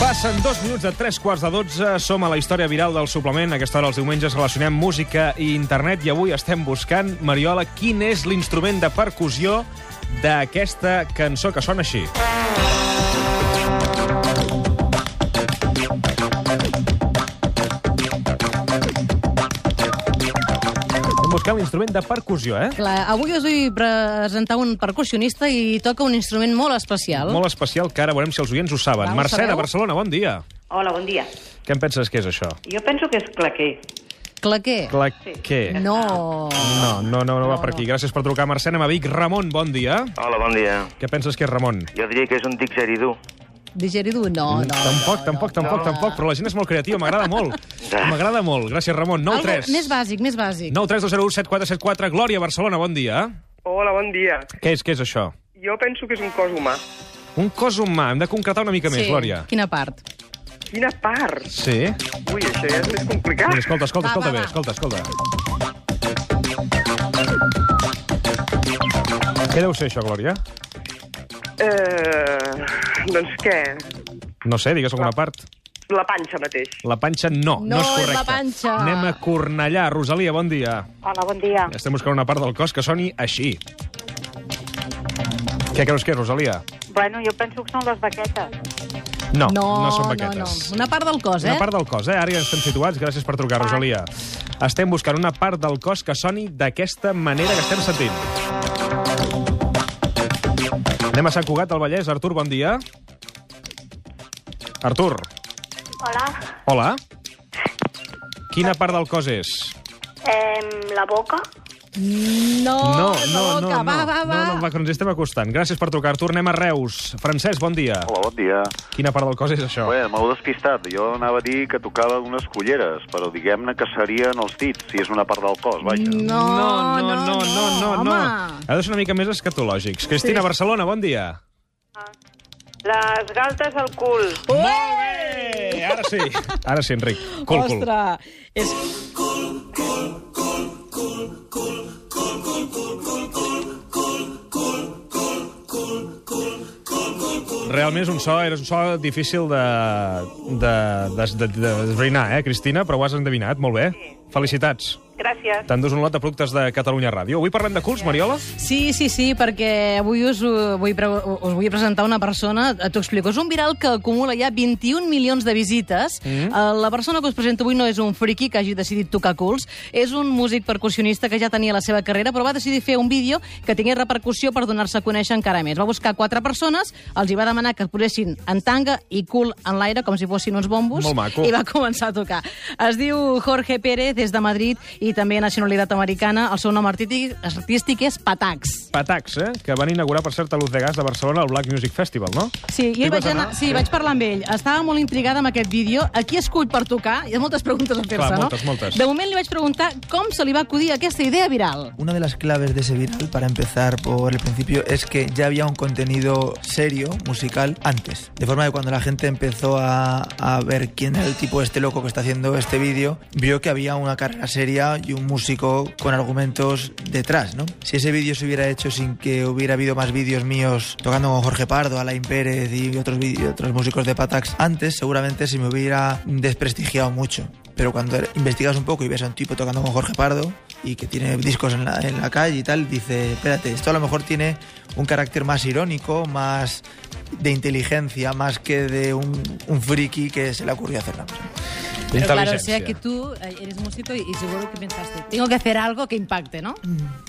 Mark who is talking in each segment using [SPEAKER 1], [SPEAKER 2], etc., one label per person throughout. [SPEAKER 1] Passen dos minuts de tres quarts de dotze, som a la història viral del suplement. A aquesta hora, els diumenges, relacionem música i internet i avui estem buscant, Mariola, quin és l'instrument de percussió d'aquesta cançó que sona així. Estem buscant l'instrument de percussió, eh?
[SPEAKER 2] Clar, avui us vull presentar un percussionista i toca un instrument molt especial.
[SPEAKER 1] Molt especial, que ara veurem si els oients ho saben.
[SPEAKER 2] Va, ho
[SPEAKER 1] Mercè, de
[SPEAKER 2] sabeu?
[SPEAKER 1] Barcelona, bon dia.
[SPEAKER 3] Hola, bon dia.
[SPEAKER 1] Què en penses que és això?
[SPEAKER 3] Jo penso que és claquer.
[SPEAKER 2] Claquer.
[SPEAKER 1] Claqué.
[SPEAKER 2] No.
[SPEAKER 1] No, no, no, no va per aquí. Gràcies per trucar, Mercè. Anem a Vic. Ramon, bon dia.
[SPEAKER 4] Hola, bon dia.
[SPEAKER 1] Què penses que és Ramon?
[SPEAKER 4] Jo diria que és un dixeridú.
[SPEAKER 2] Digeridu, no, no.
[SPEAKER 1] tampoc,
[SPEAKER 2] no,
[SPEAKER 1] tampoc, tampoc, tampoc, però la gent és molt creativa, m'agrada molt.
[SPEAKER 4] Ja.
[SPEAKER 1] M'agrada molt. Gràcies, Ramon.
[SPEAKER 2] No. Algo
[SPEAKER 1] 93.
[SPEAKER 2] més bàsic, més bàsic.
[SPEAKER 1] 932017474. Glòria, Barcelona, bon dia.
[SPEAKER 5] Hola, bon dia.
[SPEAKER 1] Què és, què és això?
[SPEAKER 5] Jo penso que és un cos humà.
[SPEAKER 1] Un cos humà. Hem de concretar una mica més, Glòria.
[SPEAKER 2] Quina part?
[SPEAKER 5] Quina part!
[SPEAKER 1] Sí?
[SPEAKER 5] Ui, això ja és més
[SPEAKER 1] Mira,
[SPEAKER 5] complicat.
[SPEAKER 1] escolta, escolta,
[SPEAKER 2] Va,
[SPEAKER 1] escolta
[SPEAKER 2] va,
[SPEAKER 1] bé,
[SPEAKER 2] va.
[SPEAKER 1] escolta, escolta. Què deu ser això, Glòria?
[SPEAKER 5] Eh, doncs què?
[SPEAKER 1] No sé, digues alguna part.
[SPEAKER 5] La panxa mateix.
[SPEAKER 1] La panxa no, no,
[SPEAKER 2] No
[SPEAKER 1] és
[SPEAKER 2] és
[SPEAKER 1] correcte.
[SPEAKER 2] la panxa.
[SPEAKER 1] Anem a Cornellà. Rosalia, bon dia.
[SPEAKER 3] Hola, bon dia.
[SPEAKER 1] Estem buscant una part del cos que soni així. Què creus que és, Rosalia?
[SPEAKER 3] Bueno, jo penso que són les baquetes.
[SPEAKER 1] No,
[SPEAKER 2] no,
[SPEAKER 1] no són
[SPEAKER 2] no,
[SPEAKER 1] baquetes.
[SPEAKER 2] no. Una part del cos, eh?
[SPEAKER 1] Una part del cos, eh? Ara ja estem situats. Gràcies per trucar, Rosalia. Estem buscant una part del cos que soni d'aquesta manera que estem sentint. Anem a Sant Cugat del Vallès. Artur, bon dia. Artur,
[SPEAKER 6] Hola,
[SPEAKER 1] hola. Quina part del cos és?
[SPEAKER 6] eh, la boca.
[SPEAKER 2] No,
[SPEAKER 1] no,
[SPEAKER 2] la
[SPEAKER 1] no, no, no.
[SPEAKER 2] Oh, boca. va, va, va.
[SPEAKER 1] No, no, va, que ens hi estem acostant. Gràcies per trucar, Artur. Anem a Reus. Francesc, bon dia.
[SPEAKER 7] Hola, bon dia.
[SPEAKER 1] Quina part del cos és això?
[SPEAKER 7] Bé, m'heu despistat. Jo anava a dir que tocava unes culleres, però diguem-ne que serien els dits, si és una part del cos, vaja.
[SPEAKER 2] No,
[SPEAKER 1] no, no, no, no, no.
[SPEAKER 2] home.
[SPEAKER 1] Heu de ser una mica més escatològics. Cristina, Barcelona, bon dia.
[SPEAKER 3] Les galtes al cul.
[SPEAKER 1] Molt bé! Ara sí. Ara sí, Enric. Cul, cul.
[SPEAKER 2] Ostres, és...
[SPEAKER 1] Realment és un so, era un so difícil de, de, de, de, de esbrinar, eh, Cristina? Però ho has endevinat, molt bé. Felicitats.
[SPEAKER 3] Gràcies.
[SPEAKER 1] T'endús un lot de productes de Catalunya Ràdio. Avui parlem de culs, Mariola?
[SPEAKER 2] Sí, sí, sí, perquè avui us, eh, vull, pre us vull presentar una persona, eh, t'ho explico, és un viral que acumula ja 21 milions de visites. Mm. La persona que us presento avui no és un friki que hagi decidit tocar culs, és un músic percussionista que ja tenia la seva carrera, però va decidir fer un vídeo que tingués repercussió per donar-se a conèixer encara més. Va buscar quatre persones, els hi va demanar que es posessin en tanga i cul en l'aire, com si fossin uns bombos,
[SPEAKER 1] Molt maco.
[SPEAKER 2] i va començar a tocar. Es diu Jorge Pérez, és de Madrid, i també nacionalitat americana. El seu nom artístic, artístic és Patax.
[SPEAKER 1] Patacs, eh? Que van inaugurar, per cert, a Luz de Gas de Barcelona, el Black Music Festival, no? Hi
[SPEAKER 2] Sí, jo hi vaig,
[SPEAKER 1] vas
[SPEAKER 2] anar,
[SPEAKER 1] anar?
[SPEAKER 2] sí, vaig parlar amb ell. Estava molt intrigada amb aquest vídeo. A qui escull per tocar? Hi ha moltes preguntes a fer-se,
[SPEAKER 1] Clar,
[SPEAKER 2] no?
[SPEAKER 1] moltes, moltes.
[SPEAKER 2] De moment li vaig preguntar com se li va acudir aquesta idea viral.
[SPEAKER 8] Una de las claves de ese viral, para empezar por el principio, es que ya había un contenido serio, musical, antes. De forma que cuando la gente empezó a, a ver quién era el tipo este loco que está haciendo este vídeo, vio que había una carrera seria y un músico con argumentos detrás, ¿no? Si ese vídeo se hubiera hecho sin que hubiera habido más vídeos míos tocando con Jorge Pardo, Alain Pérez y otros, vi- y otros músicos de Patax antes, seguramente se me hubiera desprestigiado mucho. Pero cuando er-, investigas un poco y ves a un tipo tocando con Jorge Pardo y que tiene discos en la, en la calle y tal, dice, espérate, esto a lo mejor tiene un carácter más irónico, más de inteligencia, más que de un, un friki que se le ocurrió hacer la cosa.
[SPEAKER 2] Pero claro, o
[SPEAKER 1] Intel·ligència.
[SPEAKER 2] sea que tú eh, eres músico y, y seguro que pensaste, tengo que hacer algo que impacte, ¿no?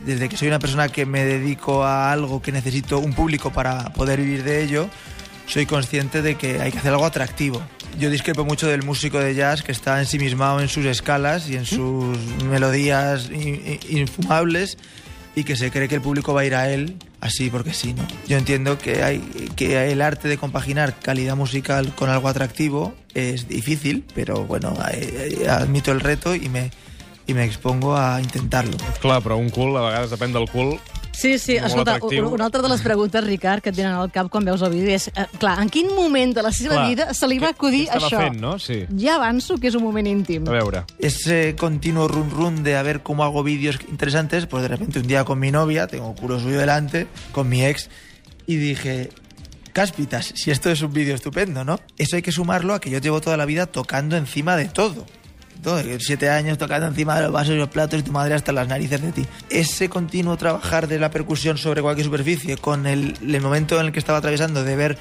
[SPEAKER 8] desde que soy una persona que me dedico a algo que necesito un público para poder vivir de ello, soy consciente de que hay que hacer algo atractivo. Yo discrepo mucho del músico de jazz que está ensimismado en sus escalas y en sus melodías in- in- infumables y que se cree que el público va a ir a él así porque sí, ¿no? Yo entiendo que, hay, que el arte de compaginar calidad musical con algo atractivo es difícil, pero bueno, eh, eh, admito el reto y me, y me expongo a intentarlo.
[SPEAKER 1] Clar, però un cul, a vegades depèn del cul,
[SPEAKER 2] Sí, sí,
[SPEAKER 1] Molt
[SPEAKER 2] escolta,
[SPEAKER 1] atractiu.
[SPEAKER 2] u- una altra de les preguntes, Ricard, que et venen al cap quan veus el vídeo és, eh, clar, en quin moment de la seva
[SPEAKER 1] Clar,
[SPEAKER 2] vida se li
[SPEAKER 1] què-
[SPEAKER 2] va acudir
[SPEAKER 1] què estava
[SPEAKER 2] això?
[SPEAKER 1] fent, no? Sí.
[SPEAKER 2] Ja avanço que és un moment íntim.
[SPEAKER 1] a veure...
[SPEAKER 8] ese continuo run run de a ver cómo hago vídeos interesantes, pues de repente un día con mi novia, tengo culo suyo delante, con mi ex, y dije, cáspitas. Si esto es un vídeo estupendo, ¿no? Eso hay que sumarlo a que yo llevo toda la vida tocando encima de todo. Todo, siete años tocando encima de los vasos y los platos y tu madre hasta las narices de ti. Ese continuo trabajar de la percusión sobre cualquier superficie, con el, el momento en el que estaba atravesando de ver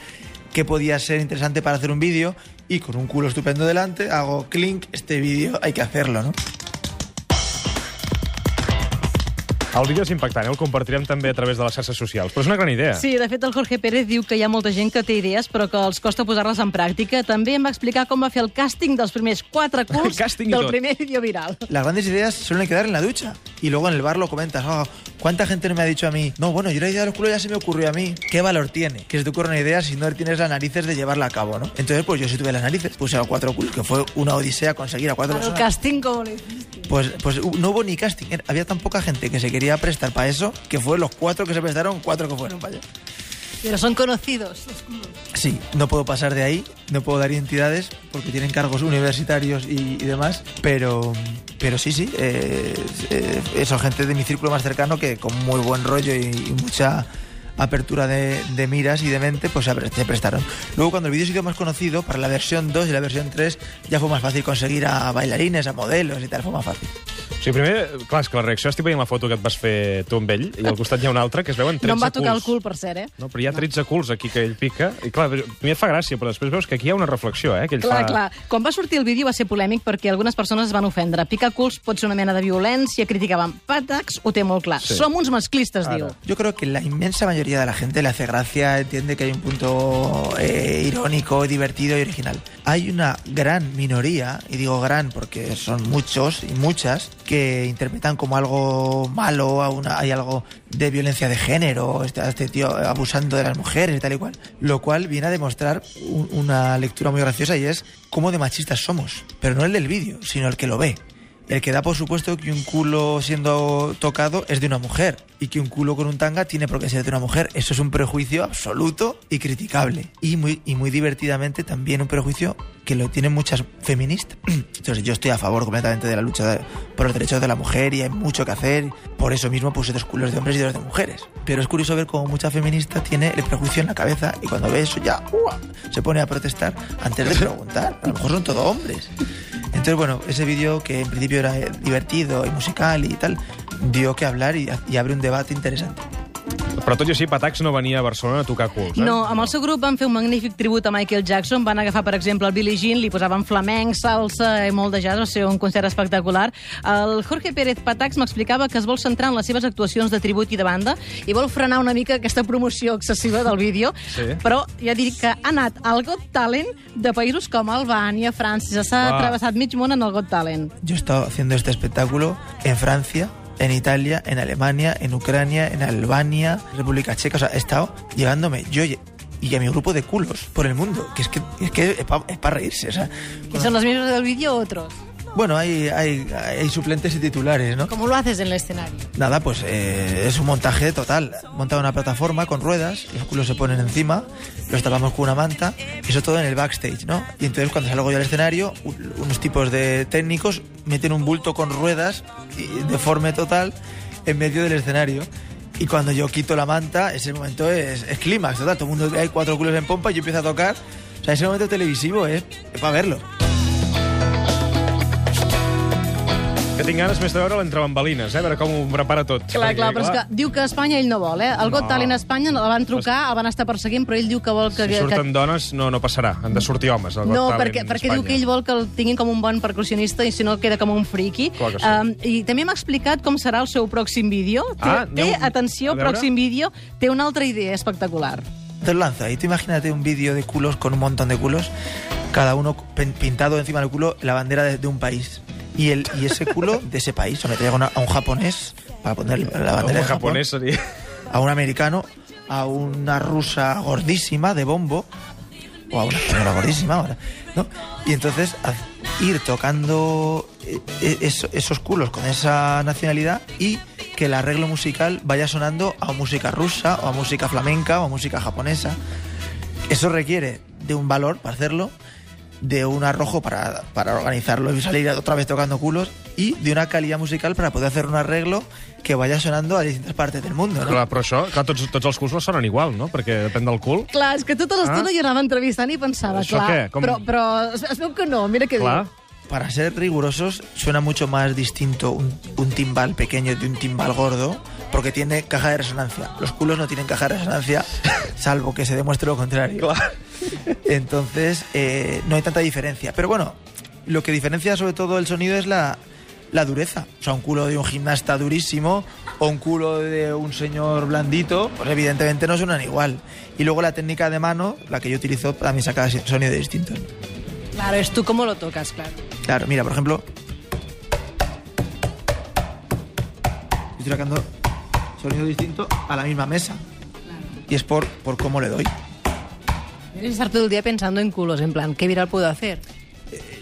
[SPEAKER 8] qué podía ser interesante para hacer un vídeo y con un culo estupendo delante hago clink, este vídeo hay que hacerlo, ¿no?
[SPEAKER 1] El vídeo és impactant, eh? el compartirem també a través de les xarxes socials, però és una gran idea.
[SPEAKER 2] Sí, de fet, el Jorge Pérez diu que hi ha molta gent que té idees però que els costa posar-les en pràctica. També em va explicar com va fer el càsting dels primers quatre curts
[SPEAKER 1] Càsting i
[SPEAKER 2] del
[SPEAKER 1] tot.
[SPEAKER 2] primer vídeo viral.
[SPEAKER 8] Las grandes ideas suelen quedar en la ducha y luego en el bar lo comentas. "Ah, ¿Cuánta gente no me ha dicho a mí? No, bueno, yo la idea de los culos ya se me ocurrió a mí. ¿Qué valor tiene? Que se te ocurra una idea si no tienes las narices de llevarla a cabo, ¿no? Entonces, pues yo sí tuve las narices. Puse a cuatro culos, que fue una odisea conseguir a cuatro
[SPEAKER 2] El
[SPEAKER 8] personas.
[SPEAKER 2] càsting com li...
[SPEAKER 8] Pues, pues hu- no hubo ni casting. Era- Había tan poca gente que se quería prestar para eso que fue los cuatro que se prestaron, cuatro que fueron para allá.
[SPEAKER 2] Però són conocidos.
[SPEAKER 8] Sí, no puedo pasar de ahí, no puedo dar identidades porque tienen cargos universitarios y, y demás, pero, pero sí, sí, eh, eh, son gente de mi círculo más cercano que con muy buen rollo y, y mucha apertura de, de miras y de mente, pues se apre- se prestaron. Luego cuando el vídeo se hizo más conocido, para la versión 2 y la versión 3, ya fue más fácil conseguir a bailarines, a modelos y tal, fue más fácil.
[SPEAKER 1] O sigui, primer, clar, és que la reacció, estic veient la foto que et vas fer tu amb ell, i al costat hi ha una altra que es veuen 13
[SPEAKER 2] No em va tocar el
[SPEAKER 1] culs.
[SPEAKER 2] cul, per cert, eh?
[SPEAKER 1] No, però hi ha 13 culs aquí que ell pica. I clar, primer et fa gràcia, però després veus que aquí hi ha una reflexió, eh? Que ell
[SPEAKER 2] Clar,
[SPEAKER 1] fa...
[SPEAKER 2] clar. Quan va sortir el vídeo va ser polèmic perquè algunes persones es van ofendre. Picar culs pot ser una mena de violència, criticaven pàtacs, ho té molt clar.
[SPEAKER 1] Sí.
[SPEAKER 2] Sí. Som uns masclistes,
[SPEAKER 1] Ara.
[SPEAKER 2] diu.
[SPEAKER 8] Yo creo que la inmensa mayoría de la gente le hace gracia, entiende que hay un punto eh, irónico, divertido y original. Hay una gran minoría, y digo gran porque son muchos y muchas, que interpretan como algo malo, a una- hay algo de violencia de género, está este tío abusando de las mujeres y tal y cual. Lo cual viene a demostrar un- una lectura muy graciosa y es cómo de machistas somos, pero no el del vídeo, sino el que lo ve. El que da por supuesto que un culo siendo tocado es de una mujer y que un culo con un tanga tiene por qué ser de una mujer. Eso es un prejuicio absoluto y criticable. Y muy, y muy divertidamente también un prejuicio que lo tienen muchas feministas. Entonces yo estoy a favor completamente de la lucha de- por los derechos de la mujer y hay mucho que hacer. Por eso mismo puse dos culos de hombres y dos de mujeres. Pero es curioso ver cómo mucha feminista tiene el prejuicio en la cabeza y cuando ve eso ya ¡uah! se pone a protestar antes de preguntar. A lo mejor son todo hombres. Entonces, bueno, ese vídeo que en principio era eh, divertido y musical y tal, dio que hablar y, y abre un debate interesante.
[SPEAKER 1] Però tot i així, Patax no venia a Barcelona a tocar culs, eh?
[SPEAKER 2] No, amb el seu grup van fer un magnífic tribut a Michael Jackson. Van agafar, per exemple, el Billie Jean, li posaven flamenc, salsa i molt de jazz. Va ser un concert espectacular. El Jorge Pérez Patax m'explicava que es vol centrar en les seves actuacions de tribut i de banda i vol frenar una mica aquesta promoció excessiva del vídeo.
[SPEAKER 1] Sí.
[SPEAKER 2] Però ja dic que ha anat al Got Talent de països com Albània, França. S'ha
[SPEAKER 1] Uah.
[SPEAKER 2] travessat mig món en el Got Talent.
[SPEAKER 8] Yo he estado haciendo este espectáculo en Francia, en Italia, en Alemania, en Ucrania, en Albania, República Checa. O sea, he estado llevándome yo y y a mi grupo de culos por el mundo. Que es que es, que para reírse. O sea,
[SPEAKER 2] Que són els mismos del vídeo o otros.
[SPEAKER 8] bueno, hay, hay, hay suplentes y titulares, ¿no?
[SPEAKER 2] ¿Cómo lo haces en el escenario?
[SPEAKER 8] Nada, pues eh, es un montaje total. Monta una plataforma con ruedas, los culos se ponen encima, los tapamos con una manta, eso todo en el backstage, ¿no? Y entonces cuando salgo yo al escenario, un- unos tipos de técnicos meten un bulto con ruedas y- deforme total en medio del escenario. Y cuando yo quito la manta, ese momento es, es clímax, total. Todo el mundo hay cuatro culos en pompa y yo empiezo a tocar. O sea, ese momento televisivo es, es para verlo.
[SPEAKER 1] Que tinc ganes més de veure l'entrebambalines, eh? A veure com ho prepara tot.
[SPEAKER 2] Clar, clar, però és que diu que a Espanya ell no vol, eh? El Got
[SPEAKER 1] No.
[SPEAKER 2] Talent a Espanya el van trucar, el van estar perseguint, però ell diu que vol que...
[SPEAKER 1] Si
[SPEAKER 2] que-
[SPEAKER 1] surten dones, no, no passarà. Han de sortir homes. al Got
[SPEAKER 2] No,
[SPEAKER 1] Talent
[SPEAKER 2] perquè, perquè diu
[SPEAKER 1] Espanya.
[SPEAKER 2] que ell vol que el tinguin com un bon percussionista i si no queda com un friki.
[SPEAKER 1] Clar que sí.
[SPEAKER 2] I també m'ha explicat com serà el seu pròxim vídeo. Té,
[SPEAKER 1] Ah,
[SPEAKER 2] té
[SPEAKER 1] aneu- a
[SPEAKER 2] atenció,
[SPEAKER 1] veure.
[SPEAKER 2] pròxim vídeo, té una altra idea espectacular.
[SPEAKER 8] Te lo lanza y tú imagínate un vídeo de culos con un montón de culos, cada uno pen- pintado encima del culo la bandera de, de un país. Y, el, y ese culo de ese país, o me traigo una- a un japonés para poner la bandera
[SPEAKER 1] Un
[SPEAKER 8] de Japón,
[SPEAKER 1] japonès seria...
[SPEAKER 8] a un americano, a una rusa gordísima de bombo, o a una española gordísima ahora, ¿no? Y entonces haz- ir tocando eh, eh, eso- esos culos con esa nacionalidad y que el arreglo musical vaya sonando a música rusa o a música flamenca o a música japonesa. Eso requiere de un valor para hacerlo, de un arrojo para, para organizarlo y salir otra vez tocando culos y de una calidad musical para poder hacer un arreglo que vaya sonando a distintas partes del mundo, ¿no?
[SPEAKER 1] Clar, però això, clar, tots, tots els culs no sonen igual, no? Perquè depèn del cul.
[SPEAKER 2] Clar, és que tota l'estona
[SPEAKER 1] Ah.
[SPEAKER 2] jo anava entrevistant i pensava,
[SPEAKER 1] Això
[SPEAKER 2] clar,
[SPEAKER 1] què? Com-
[SPEAKER 2] però, però es, es veu que no, mira què
[SPEAKER 1] Clar.
[SPEAKER 2] diu.
[SPEAKER 8] Para ser rigurosos, suena mucho más distinto un, un timbal pequeño de un timbal gordo, porque tiene caja de resonancia. Los culos no tienen caja de resonancia, salvo que se demuestre lo contrario. Entonces, eh, no hay tanta diferencia. Pero bueno, lo que diferencia sobre todo el sonido es la, la dureza. O sea, un culo de un gimnasta durísimo o un culo de un señor blandito, pues evidentemente no suenan igual. Y luego la técnica de mano, la que yo utilizo, también saca sonido distinto.
[SPEAKER 2] Claro, és tu com lo tocas, clar.
[SPEAKER 8] Claro, mira, por ejemplo. Estoy sacando sonido distinto a la misma mesa. Y es por, por cómo le doy.
[SPEAKER 2] Debes estar todo el día pensando en culos, en plan, ¿qué viral puedo hacer?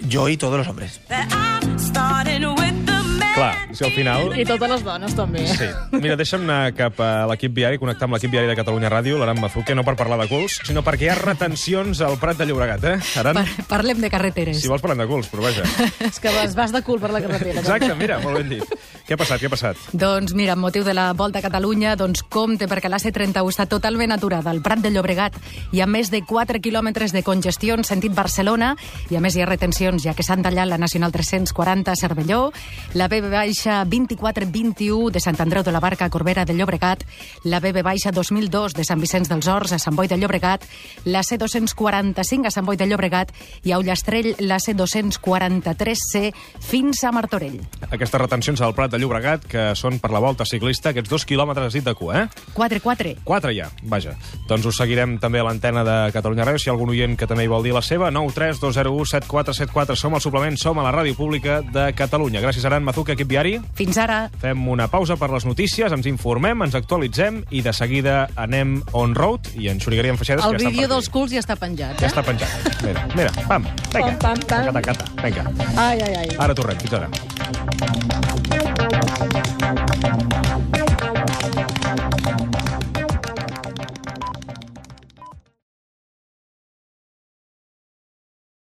[SPEAKER 8] Yo y todos los hombres.
[SPEAKER 1] Clar, si al final...
[SPEAKER 2] I totes les dones, també.
[SPEAKER 1] Sí. Mira, deixa'm anar cap a l'equip viari, connectar amb l'equip viari de Catalunya Ràdio, l'Aran Mazuque, no per parlar de culs, sinó perquè hi ha retencions al Prat de Llobregat, eh? Aran,
[SPEAKER 2] Par parlem de carreteres.
[SPEAKER 1] si vols parlem de culs, però vaja.
[SPEAKER 2] És que vas, vas de cul per la carretera.
[SPEAKER 1] Exacte, mira, molt ben dit. Què ha passat, què ha passat?
[SPEAKER 9] Doncs mira, amb motiu de la Volta a Catalunya, doncs compte perquè la C31 està totalment aturada al Prat de Llobregat. Hi ha més de 4 quilòmetres de congestió en sentit Barcelona i a més hi ha retencions ja que s'han tallat la Nacional 340 a Cervelló, la BB baixa 2421 de Sant Andreu de la Barca a Corbera de Llobregat, la BB baixa 2002 de Sant Vicenç dels Horts a Sant Boi de Llobregat, la C245 a Sant Boi de Llobregat i a Ullastrell la C243C fins a Martorell.
[SPEAKER 1] Aquestes retencions al Prat de Llobregat, que són per la volta ciclista, aquests dos quilòmetres has dit de cua, eh?
[SPEAKER 9] 4-4.
[SPEAKER 1] Quatre ja, vaja. Doncs us seguirem també a l'antena de Catalunya Ràdio, si hi ha algun oient que també hi vol dir la seva. 9 3 2 0 1 7 4 7 4. Som al suplement, som a la Ràdio Pública de Catalunya. Gràcies, Aran Mazuca, equip viari.
[SPEAKER 9] Fins ara.
[SPEAKER 1] Fem una pausa per les notícies, ens informem, ens actualitzem i de seguida anem on-road i ens xorigaríem feixedes.
[SPEAKER 2] El
[SPEAKER 1] que ja estan per
[SPEAKER 2] vídeo
[SPEAKER 1] aquí.
[SPEAKER 2] dels culs ja està penjat,
[SPEAKER 1] Ja
[SPEAKER 2] eh?
[SPEAKER 1] està penjat. Mira, mira, pam, vinga.
[SPEAKER 2] Pam, pam, pam.
[SPEAKER 1] Cata, cata, vinga.
[SPEAKER 2] Ai, ai, ai.
[SPEAKER 1] Ara tornem, fins ara.